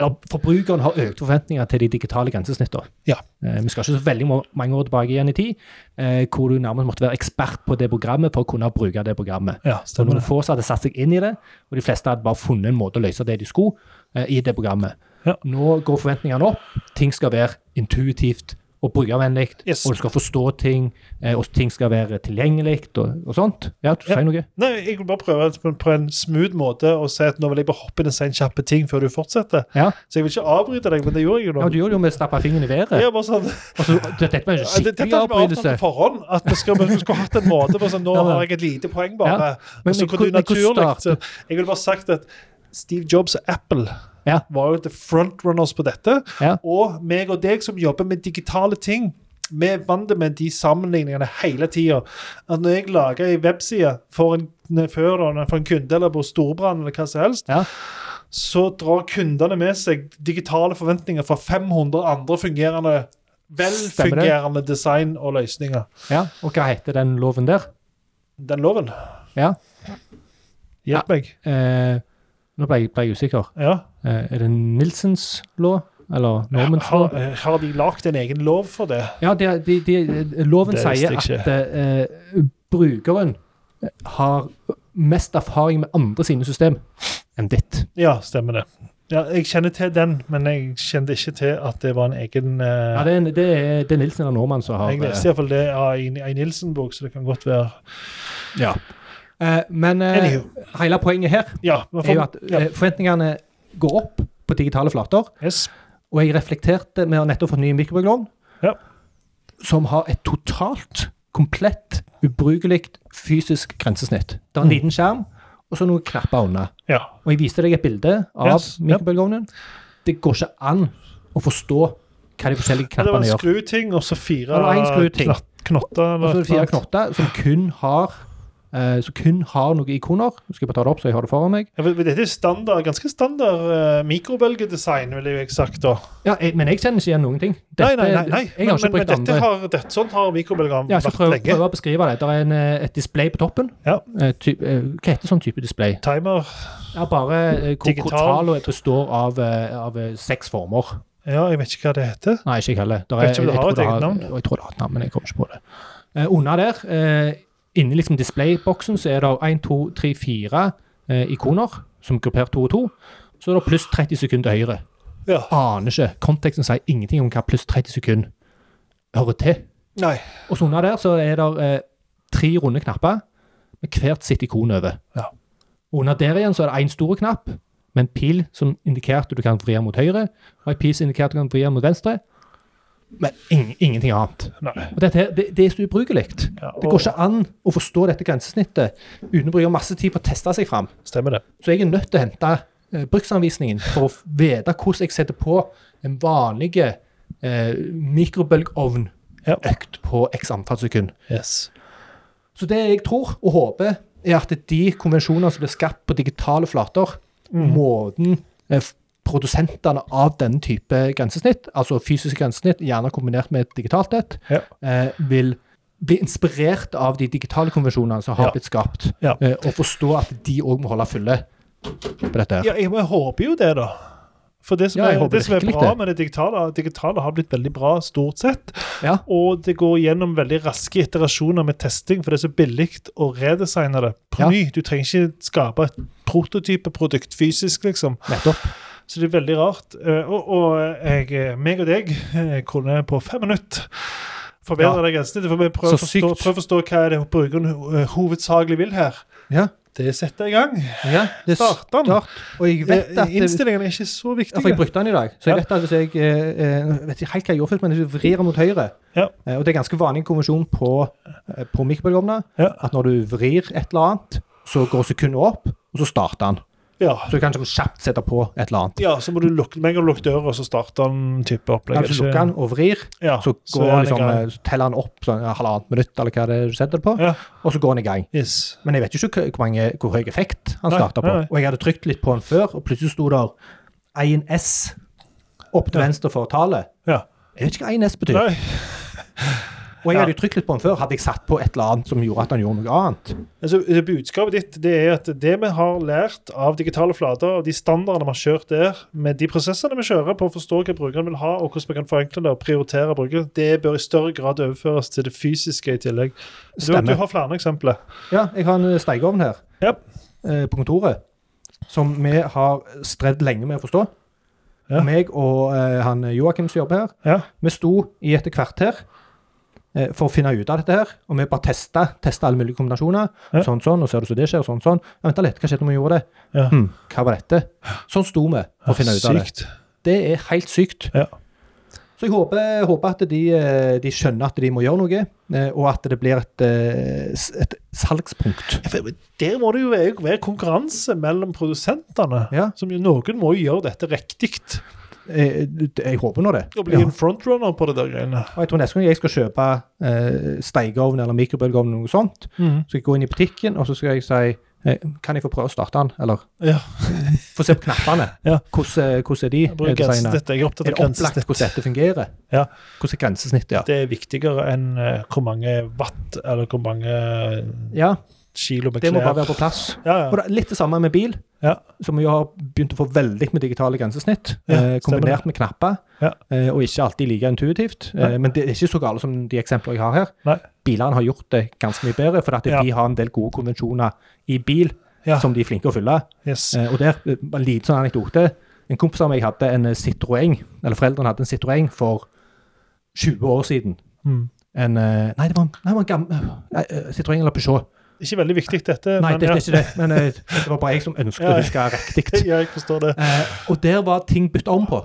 eller Forbrukeren har økte forventninger til de digitale grensesnittene.
Ja.
Eh, vi skal ikke så veldig ma- mange år tilbake igjen i tid, eh, hvor du nærmest måtte være ekspert på det programmet for å kunne bruke det programmet.
Ja,
Så
stemmer
noen
det.
få som hadde satt seg inn i det, og de fleste hadde bare funnet en måte å løse det de skulle eh, i det programmet.
Ja.
Nå går forventningene opp. Ting skal være intuitivt og brukervennlig,
Yes.
og du skal forstå ting, eh, og ting skal være tilgjengelig og, og sånt. Ja, du
Ja.
sier noe?
Nei, Jeg vil bare prøve på- på en smooth måte å si at nå vil jeg bare hoppe inn og si en kjapp ting før du fortsetter.
Ja.
Så jeg vil ikke avbryte deg, men det gjorde jeg jo nå.
Ja, du gjorde det jo med å stappe fingeren i været.
Ja, bare sånn.
Og så- det- dette var jo en
Ja, det- Dette
skikkelig
har vi avtalt
avbrytelse.
på forhånd. At vi, skal, vi skulle hatt en måte på sånn, Nå
Ja, men-
har jeg et lite poeng, bare.
Ja, men-
så kunne
men
du
hvor-
naturlig
hvor starter-
så, Jeg ville bare sagt at Steve Jobs og Apple
Ja.
var jo the frontrunners på dette.
Ja.
Og meg og deg som jobber med digitale ting, vi er vant med de sammenligningene hele tida. At når jeg lager ei webside for en, før, da, for en kunde eller på Storbrann eller hva som helst,
Ja.
så drar kundene med seg digitale forventninger fra 500 andre fungerende, velfungerende design og løsninger.
ja, Og hva heter den loven der?
Den loven.
Ja. Ja.
Hjelp meg.
Eh, nå ble jeg, ble jeg usikker.
Ja.
Eh, er det Nilsens lov? Eller Normans
Har, eh,
lov?
har de lagd en egen lov for det?
Ja, de, de, de, loven
Det
sier
visste jeg
at eh, brukeren har mest erfaring med andre sine system enn ditt.
Ja, stemmer det. Ja, jeg kjenner til den, men jeg kjente ikke til at det var en egen eh,
Ja, det, er, det, er, det er Nilsen eller Norman som har
Jeg
eh,
leste iallfall det av en, en Nilsen-bok, så det kan godt være
Ja. Eh, men eh,
Anywho.
hele poenget her
Ja. vi
er jo at
får, ja.
eh, forventningene går opp på digitale flater.
Yes.
Og jeg reflekterte med å ha nettopp fått ny mikrobølgeovn,
Ja.
som har et totalt, komplett, ubrukelig fysisk grensesnitt. Det er en
Mm.
liten skjerm, og så noen knapper unna.
ja.
Og jeg viste deg et bilde av
Yes, ja.
mikrobølgeovnen. Det går ikke an å forstå hva de forskjellige
Ja, Det var
knappene
en
gjør.
skruting og så fire
Det var en skruting.
knatt- knotter.
Og så er det fire
eller-
knotter som kun har eh, som kun har noen ikoner. Nå skal jeg bare ta det opp, så jeg har det foran meg.
Ja, for- for Dette er standard, ganske standard eh, mikrobølgedesign, ville jeg sagt. da.
Ja, jeg, Men jeg kjenner ikke igjen noen ting.
Nei, nei, nei. nei.
Jeg har
men, men,
ikke brukt
men dette
andre.
har, dette, sånt har mikrobølgeovn
Ja, jeg skal
Mm. vært
prøve,
lenge.
prøve å beskrive det. Det er en, eh, et display på toppen.
Ja.
Eh, ty, eh, hva heter sånn type display?
Timer.
Ja, bare eh, hvor, hvor
Digital.
tallene består av, eh, av eh, seks former.
Ja, jeg vet ikke hva det heter.
Nei, ikke jeg heller. Der
Vet ikke om det har
tror
et eget navn.
Jeg tror det har et navn, men jeg kommer ikke på det. Eh, under der, eh, inni liksom displayboksen, så er det 1, 2, 3, 4 eh, ikoner, som gruppert to og to. Så er det pluss 30 sekunder til høyre.
Ja.
Aner ikke. Konteksten sier ingenting om hva pluss 30 sekunder hører til.
Nei.
Og så under der så er det eh, tre runde knapper med hvert sitt ikon over.
Ja.
Og Under der igjen så er det én stor knapp med en pil som indikerte du kan vri den mot høyre, og en pil som indikerte du kan vri den mot venstre. Men ing- ingenting annet.
Nei.
Og dette her, det, det er så ubrukelig.
Ja,
Det går ikke an å forstå dette grensesnittet uten å bruke masse tid på å teste seg fram.
Stemmer det.
Så jeg er nødt til å hente eh, bruksanvisningen for å f- vite hvordan jeg setter på en vanlig eh,
Ja.
mikrobølgeovnøkt på x antall sekunder.
Yes.
Så det jeg tror og håper, er at de konvensjoner som blir skapt på digitale flater,
Mm.
måten eh, f- produsentene av denne type grensesnitt, altså fysiske grensesnitt, gjerne kombinert med et digitalt et,
Ja.
eh, vil bli inspirert av de digitale konvensjonene som har
Ja.
blitt skapt,
Ja.
eh, og forstå at de òg må holde fulle på dette. her.
Ja, jeg, men jeg håper jo det, da. For det som,
Ja, jeg
er,
håper
det som er
virkelig
bra
det.
med det digitale, digitale har blitt veldig bra stort sett.
Ja.
Og det går gjennom veldig raske iterasjoner med testing, for det er så billig å redesigne det på
Ja.
ny. Du trenger ikke skape et prototypeprodukt fysisk, liksom.
Nettopp.
Så det er veldig rart. Eh, Og, og jeg, meg og deg eh, kunne på fem minutter forbedre
Ja.
det grensesnittet. For vi prøver å
Så
forstå,
sykt.
prøver å forstå hva er det brukeren eh, hovedsakelig vil her.
Ja.
Det setter jeg i gang.
det er
Start den.
start. Og jeg vet
Eh,
at det,
Innstillingene er ikke så
Ja, for
viktige.
jeg brukte den i dag. Så
Ja.
jeg vet at hvis jeg eh, eh, vet ikke helt hva jeg gjorde først, men hvis du vrir den mot høyre
Ja.
eh, Og det er ganske vanlig konvensjon på, eh, på mikrobølgeovner
Ja.
at når du vrir et eller annet, så går sekundet opp, og så starter den.
Ja.
Så du kan liksom kjapt sette på et eller annet.
ja, så må du lukke, med en gang du lukker døra, så starter den type opplegg.
Hvis du lukker den og vrir,
Ja,
så,
så
går
er den i
liksom,
gang.
eh, så teller den opp sånn ja, halvannet minutt, eller hva det er du setter det på,
Ja.
og så går den i gang.
Yes.
Men jeg vet jo ikke hva- hvor, mange, hvor høy effekt han
Nei,
starta på.
nei, nei.
Og jeg hadde trykt litt på den før, og plutselig sto der 1S opp til
Ja.
venstre for tallet.
Ja.
Jeg vet ikke hva 1S betyr.
Nei,
Og jeg
Ja.
hadde jo trykt litt på den før, hadde jeg satt på et eller annet som gjorde at han gjorde noe annet.
altså, det budskapet ditt det er at det vi har lært av digitale flater, og de standardene vi har kjørt der, med de prosessene vi kjører på å forstå hva brukeren vil ha, og hvordan vi kan forenkle det og prioritere brukeren, det bør i større grad overføres til det fysiske i tillegg. Du,
Stemmer.
du har flere eksempler.
Ja, jeg har en stekeovn her
Ja.
eh, på kontoret som vi har strevd lenge med å forstå.
Ja.
Meg og eh, han Joakim som jobber her,
Ja.
vi sto i et kvarter eh, for å finne ut av dette her, og vi bare testa, testa alle mulige kombinasjoner.
Ja.
Sånn, sånn, og ser du så det skjer, sånn, sånn. Ja, vent litt, hva skjedde når vi gjorde det?
Ja.
Hm, hva var dette? Sånn sto vi for å finne ut av det.
Sykt.
Det er helt sykt.
Ja.
Så jeg håper, håper at de, eh, de skjønner at de må gjøre noe, eh, og at det blir et, eh, s- et salgspunkt.
Ja, for Der må det jo være være konkurranse mellom produsentene.
Ja.
Som jo, noen må jo gjøre dette riktig.
Eh, det- Jeg håper nå det.
Og bli
Ja.
en frontrunner på det der greiene.
Og jeg tror neste gang jeg skal kjøpe eh, stekeovn eller mikrobølgeovn, eller noe sånt, så skal jeg gå inn i butikken og så skal jeg si eh, Kan jeg få prøve å starte den, eller
Ja.
få se på knappene?
Ja.
Hvordan, hvordan er de
Jeg, bruker
eh, designet?
grensesnitt. jeg er
Er
opptatt
det
av
opplagt
grensesnitt.
hvordan dette fungerer?
Ja.
Hvordan er grensesnittet, ja.
Det er viktigere enn eh, hvor mange watt eller hvor mange eh,
ja.
kilo med
Det må bare
klær.
være på plass.
Ja,
Og
ja.
da, litt det samme med bil.
Ja.
som vi jo har begynt å få veldig med digitale grensesnitt,
Ja,
eh, kombinert
stemmer
med knapper,
Ja.
eh, og ikke alltid like intuitivt. Eh,
Nei.
men det er ikke så gale som de eksemplene jeg har her.
Nei.
Bilene har gjort det ganske mye bedre, for at
Ja.
de har en del gode konvensjoner i bil
Ja.
som de er flinke å fylle.
Yes.
Eh, og der, eh, en liten sånn anekdote. En kompis av meg hadde en eh, Citroën, eller foreldrene hadde en Citroën for 20 år siden.
Mm.
En, eh, nei, det var en, nei, det var en gammel nei, eh, Citroën eller Peugeot.
Ikke veldig viktig, dette.
Nei,
men
det, det
ja.
er ikke det. Men eh, det var bare jeg som ønsket
Ja.
å huske riktig.
Ja, jeg forstår det.
Eh, og der var ting bytta om på.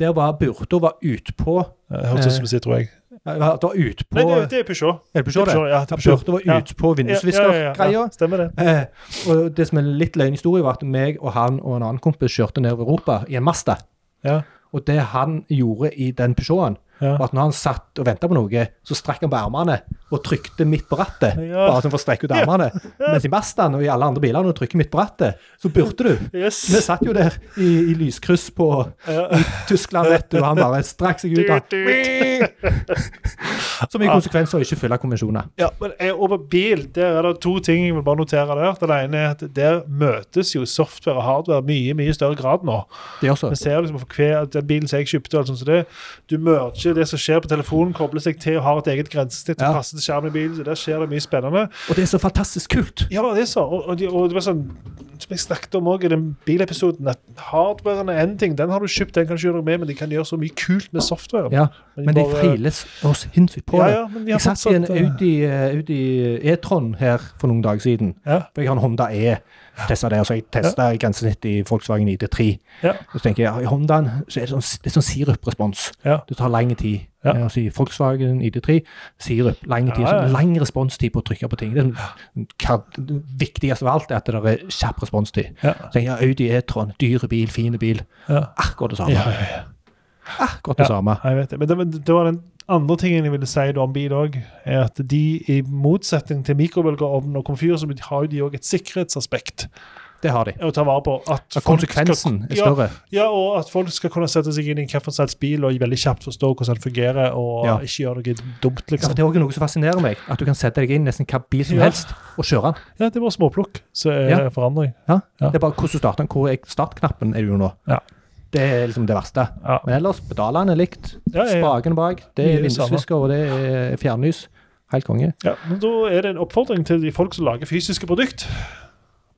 Der var Burda var utpå
Det Hørtes ut som jeg tror jeg.
eh, var- Det var utpå
Nei, det, det er Peugeot.
Er det Peugeot, det?
Ja, det er Peugeot.
Burda var
Ja.
utpå
Ja, ja, ja, ja,
vindusviskergreia.
ja. Stemmer det.
Eh, og det som er litt løgn historie, var at meg og han og en annen kompis kjørte nedover Europa i en Mazda.
Ja.
Og det han gjorde i den Peugeoten,
Ja.
var at når han satt og venta på noe, så strakk han på armene og trykte midt på rattet.
Ja.
Bare sånn for å strekke ut armene. Mens i Mazdaen og i alle andre biler, når du trykker midt på rattet, så burde du.
Yes.
Vi satt jo der i, i lyskryss på
Ja.
Tyskland, vet du, og han bare strakk seg ut av Som i konsekvens av å ikke fylle konvensjoner.
Ja, men jeg, over bil der er det to ting jeg vil bare notere der. Den ene er at der møtes jo software og hardware mye mye større grad nå.
Det gjør så.
Vi ser liksom for hver at den bilen som jeg kjøpte, og alt sånt som det, du merger det som skjer på telefonen, kobler seg til og har et eget grensesnitt som
Ja.
passer til skjermen i bilen. så Der skjer det mye spennende.
Og det er så fantastisk kult.
Ja, det er så. Og, og, de- og det var sånn som jeg snakket om også i den bilepisoden, at hardwaren er én ting. Den har du kjøpt, den kan du ikke gjøre noe med, men de kan gjøre så mye kult med softwaren.
Ja. Men de
bare-
feiles så sinnssykt på
ja,
det.
ja, men de har
Jeg satt i en
fortsatt, eh,
Audi, eh, Audi E-tron her for noen dager siden.
Ja.
For jeg har en Honda E. Testa der, så jeg testa i grensesnitt i Volkswagen ID3.
Ja.
Så tenker jeg, ja, I Hondaen så er det sånn, det er sånn siruprespons.
Ja.
Det tar lang tid.
Ja.
Eh, Altså, i Volkswagen ID3, sirup, lang tid.
Ja, ja.
Sånn lang responstid på å trykke på ting. Det, er sånn- hva- det viktigste av alt er at det er kjapp responstid.
Ja.
Så tenker jeg, ja, Audi E-tron, dyre bil, fine bil.
Ja.
Akkurat det samme.
Ja, ja, ja.
Akkurat det
Ja.
samme.
Jeg vet det. Men det, men det var den andre tingen jeg ville si da om bil òg, er at de, i motsetning til mikrobølgeovn og komfyr, så har jo de òg et sikkerhetsaspekt
Det har de.
å ta vare på. At
Så
folk
konsekvensen
skal,
er større.
Ja, og at folk skal kunne sette seg inn i en hvilken som helst bil og veldig kjapt forstå hvordan den fungerer, og
Ja.
ikke gjøre noe dumt,
Ja,
liksom.
det er også noe som fascinerer meg, at du kan sette deg inn i nesten hva bil som
Ja.
helst og kjøre den.
Ja, det er bare småplukk, så er
Ja.
forandring.
Ja?
Ja.
Det er bare hvordan du starter den. Hvor er startknappen er du nå?
Ja.
Det er liksom det verste.
Ja.
Men ellers, pedalene er likt.
Ja, ja, ja.
Spaken bak, det
Mye
er
det samme.
vindusvisker, og det er fjernlys. Helt konge.
Ja, men Da er det en oppfordring til de folk som lager fysiske produkt.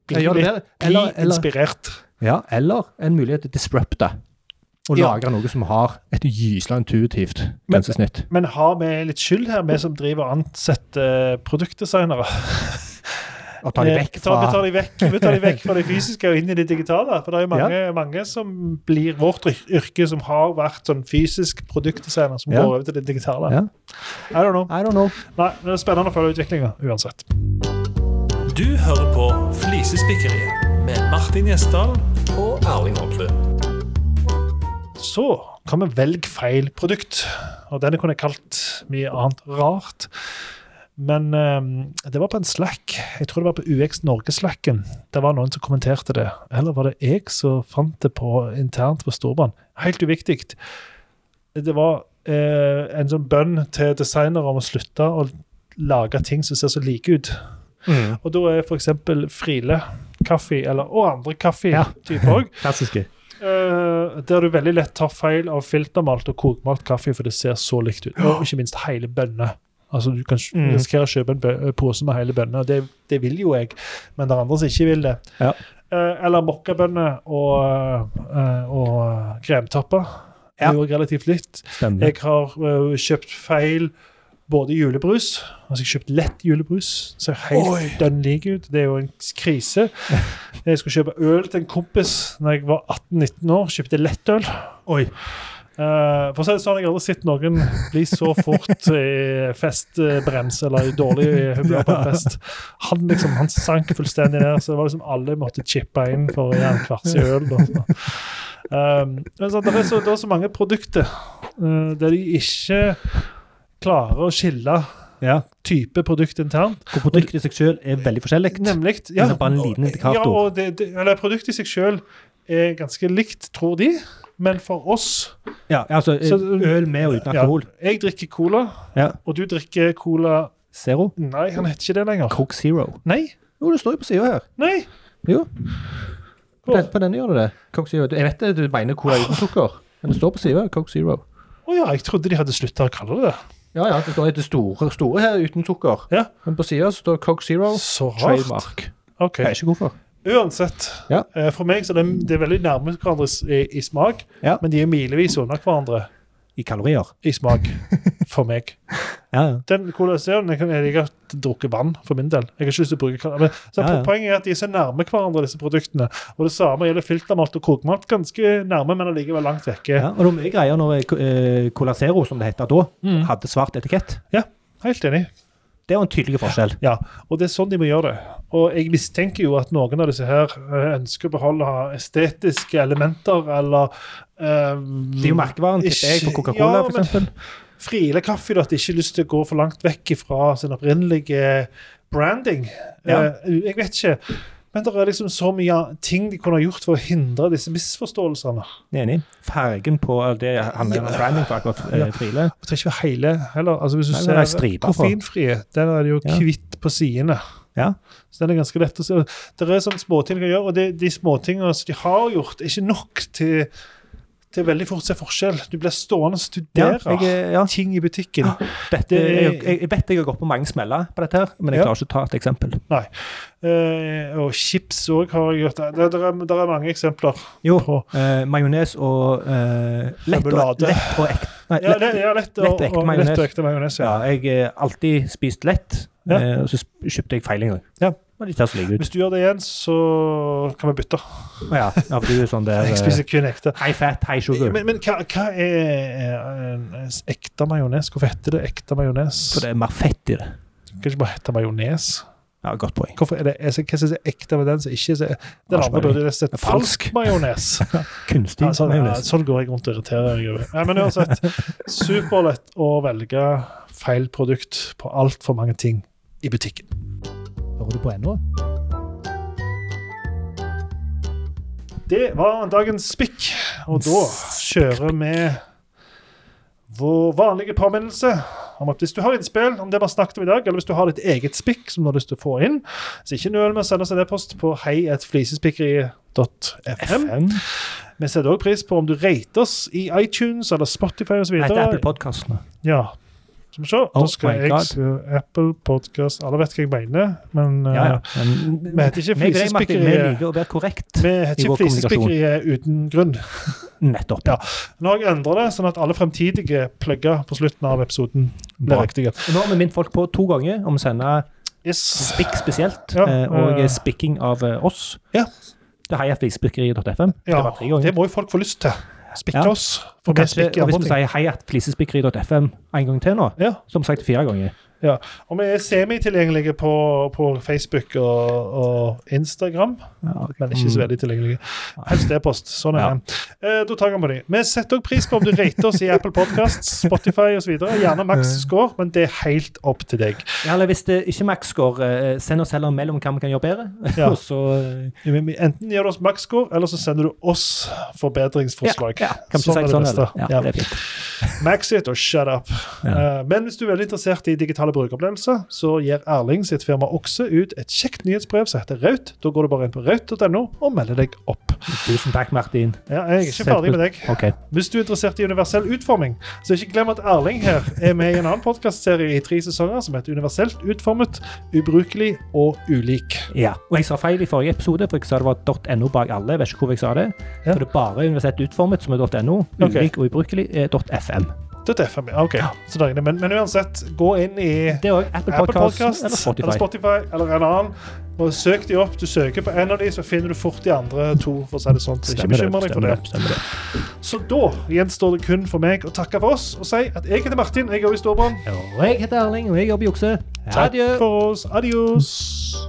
Bli,
Ja, gjør det
litt-
bedre.
bli
Eller- eller-
inspirert.
Ja, eller en mulighet til å disrupte. Og
Ja.
lage noe som har et gysla intuitivt grensesnitt.
Men har vi litt skyld her, vi som driver og ansetter produktdesignere?
Og ta det
Eh,
vekk
ta- Vi tar
fra
de vekk, vi tar de vekk fra det fysiske og inn i det digitale. For det er jo mange, mange som blir vårt yr- yrke, som har vært sånn fysisk produktdesigner, som
Ja.
går over til det digitale.
Ja.
I don't know.
I don't know.
Nei, men det er spennende å følge utviklinga uansett.
Du hører på Flisespikkeriet med Martin Gjesdal.
og Erling Holmsrud.
Så kan vi velge feil produkt. Og denne kunne jeg kalt mye annet rart. Men eh, det var på en slack. Jeg tror det var på UX Norge-slacken. Det var noen som kommenterte det. Eller var det jeg som fant det på internt på Storbanen? Helt uviktig. Det var eh, en sånn bønn til designere om å slutte å lage ting som ser så like ut.
Mm,
Og da er f.eks. Friele kaffe, eller, og andre kaffetyper òg,
Klassiske.
Eh, der du veldig lett tar feil av filtermalt og kokmalt kaffe, for det ser så likt ut. Og ikke minst hele bønner. Altså, du kan
Mm.
risikere å kjøpe en bø- eh, pose med hele bønner, og det, det vil jo jeg, men det er andre som ikke vil det.
Ja.
Eh, eller mokkabønner og, eh, og eh, kremtapper. Det
Ja.
er jo relativt likt.
Stemmer.
Jeg har eh, kjøpt feil både julebrus Altså, jeg har kjøpt lett julebrus. Ser helt dønn lik ut. Det er jo en krise. Jeg skulle kjøpe øl til en kompis når jeg var 18-19 år. Kjøpte lettøl.
Oi.
Eh, for å si det sånn, Jeg har aldri sett noen bli så fort i festbrems eller i dårlig humør på en fest. Han liksom, han sank fullstendig ned, så det var liksom alle måtte chippe inn for å gjøre en kvarts i øl. Da. Um, men så, det, er så, det er så mange produkter eh, der de ikke klarer å skille
Ja.
type produkt internt.
Hvor produktet i seg sjøl er veldig forskjellig.
Nemlig. Ja,
Det er bare en liten indikator.
Ja, og det, det, eller produktet i seg sjøl er ganske likt, tror de, men for oss
Ja, altså
Så-
øl med og uten
ja,
alkohol.
Jeg drikker cola,
Ja.
og du drikker cola
Zero.
Nei, han heter ikke det lenger.
Coke Zero.
Nei.
Jo, det står jo på sida her.
Nei.
Jo. På,
Å
den, på denne gjør det det. Coke Zero. Jeg vet det, du mener cola uten sukker, men det står på sida. Coke Zero.
å ja, jeg trodde de hadde slutta å kalle det det.
Ja, ja, det står det store, store her uten sukker.
Ja.
Men på sida står Coke Zero.
Så rart.
Trademark.
Ok.
Jeg vet ikke hvorfor.
Uansett,
Ja.
eh, for meg så er det, det er veldig nærme hverandre s- i, i smak,
Ja.
men de er milevis unna hverandre
I kalorier.
i smak for meg.
Ja, ja.
Den Cola Zeroen jeg kan jeg liker å drukke vann, for min del. Jeg har ikke lyst til å bruke kal- men, så
Ja, ja.
Poenget er at de er så nærme hverandre, disse produktene. Og det samme gjelder filtermalt og kokemalt. Ganske nærme, men allikevel langt vekke.
Ja, og det var mye greier når eh, Cola Zero, som det heter da,
Mm.
hadde svart etikett.
Helt enig.
Det var en tydelig forskjell.
Ja, og det er sånn de må gjøre det. Og jeg mistenker jo at noen av disse her eh, ønsker å beholde estetiske elementer, eller eh,
Det er jo merkevaren, tipper jeg, på
Ikke-
Coca-Cola,
ja,
for
men-
eksempel.
Friele kaffe, da, at de ikke har lyst til å gå for langt vekk fra sin opprinnelige branding.
Ja.
Eh, jeg vet ikke. Men det er liksom så mye ting de kunne ha gjort for å hindre disse misforståelsene.
Enig. Fargen på eh, det handler om branding på akkurat eh,
Ja.
Friele.
Og det er ikke hele heller. Altså Hvis du
Nei, men det er
ser
striper for.
koffeinfrie, den er det jo
Ja.
kvitt på sidene.
Ja.
Så den er ganske lett å se. Det er sånne småting de kan gjøre, og det, de småtingene som de har gjort, er ikke nok til til veldig fort å se forskjell. Du blir stående og
Ja,
studere
jeg, eh, ja.
ting i butikken.
Dette,
Det-
jeg, jeg jeg vet jeg har gått på mange smeller på dette, her, men jeg
Ja.
klarer ikke å ta et eksempel.
Eh, og chips òg har jeg gjort. Det, det, er, det er mange eksempler
Jo,
på.
eh, majones og eh, lett, og,
Remoulade.
lett og ek, Nei,
Ja,
lett-
det, ja lett,
lett
og,
vekt
og
majones.
lett vekte majones. Ja.
ja, jeg har alltid spist lett,
Ja.
eh, og så sp- kjøpte jeg feil en gang.
Ja.
Men de ser så like ut.
Hvis du gjør det igjen, så kan vi bytte.
Å Ja, ja, for du er sånn der
Jeg
eh,
spiser kun ekte.
High fat, high sugar.
Men, men hva, hva er en ekte majones? Hvorfor heter det ekte majones?
For det er mer fett i det.
Kan det ikke bare hete majones?
Ja, Godt poeng.
Hvorfor er det, er, hva synes jeg er ekte med den som ikke er Den andre burde jo sett falsk
Falsk.
majones.
Kunstig
Ja, sånn, ja,
majones.
sånn går jeg rundt og irriterer meg over. Ja, men uansett, superlett å velge feil produkt på altfor mange ting i butikken.
Hører du på ennå?
Det var dagens spikk, og da kjører vi vår vanlige påminnelse om at hvis du har innspill om det vi har snakket om i dag, eller hvis du har ditt eget spikk som du har lyst til å få inn, så ikke nøl med å sende oss en e-post på heietflisespikkeriet.fm.
FM?
Vi setter òg pris på om du rater oss i iTunes eller Spotify osv.
Nei, det er Apple Podcast nå.
Ja. Skal vi se.
Oh
da skal
my
jeg
God.
se Apple Podcast Alle vet hva jeg mener, men
Ja, ja.
eh,
Men,
vi heter ikke
meg og deg, Martin, vi
Flisespikkeriet.
liker å være korrekt.
Vi heter
I
ikke
vår
Flisespikkeriet uten grunn.
Nettopp.
Ja. Nå har jeg endret det, sånn at alle fremtidige plugger på slutten av episoden blir
Bra.
riktige.
Nå har vi minnet folk på to ganger om å sende
Yes.
spikk spesielt,
Ja,
eh, og
eh,
spikking av eh, oss.
Ja.
Det har jeg flisespikkeriet.fm.
Ja,
det var tre ganger.
det må jo folk få lyst til. Spikke
Ja.
oss.
Og
For vi
kanskje,
spikker
og hvis
andre
vi
ting.
sier hei at flisespikkeri.fm en gang til nå,
Ja,
som sagt fire ganger
ja. Og vi er semitilgjengelige på, på Facebook og, og Instagram. men ikke så veldig tilgjengelige. Helst e-post. Sånn er
Mm. Ja.
det. Eh, da tar jeg den på de. Vi setter også pris på om du rater oss i Apple Podkast, Spotify osv. Gjerne maks score, men det er helt opp til deg.
Ja, Eller hvis det ikke Max går, eh, send oss heller en mail om hva vi kan gjøre bedre.
Ja.
Og så eh,
Enten gir du oss maks score, eller så sender du oss forbedringsforslag.
Ja, ja, kan vi
Sånn er
si
det
sånn er
beste.
det. Ja,
Ja.
det er fint.
Max it og shut up.
Ja.
Eh, Men hvis du er veldig interessert i digitale brukeropplevelser, så gir Erling sitt firma Okse ut et kjekt nyhetsbrev som heter Raut. Da går du bare inn på raut.no og melder deg opp.
Tusen takk, Martin.
Ja, jeg er ikke ferdig med deg.
Ok.
Hvis du er interessert i universell utforming, så ikke glem at Erling her er med i en annen podkastserie i tre sesonger som heter Universelt utformet, ubrukelig og ulik.
Ja. Og jeg sa feil i forrige episode, for jeg sa det var .no bak alle. Jeg vet ikke hvor jeg sa det.
Ja.
For det er bare universelt utformet som er .no.
Ok.
Ulik og ubrukelig er .fm.
Det er FM, ja, ok. Så da er det- men, men uansett, gå inn i
Det er òg Apple
Apple Podcast eller
Podcast eller
Spotify.
Spotify.
eller en annen. Og Søk de opp. Du søker på en av de, så finner du fort de andre to. for å si det sånn. Så ikke bekymre deg for
stemmer
det.
det. Stemmer
Så
det.
da gjenstår det kun for meg å takke for oss og si at jeg heter Martin, jeg jobber i Storbrann.
Og jeg heter Erling, og jeg jobber i jukse.
Takk for oss. Adios.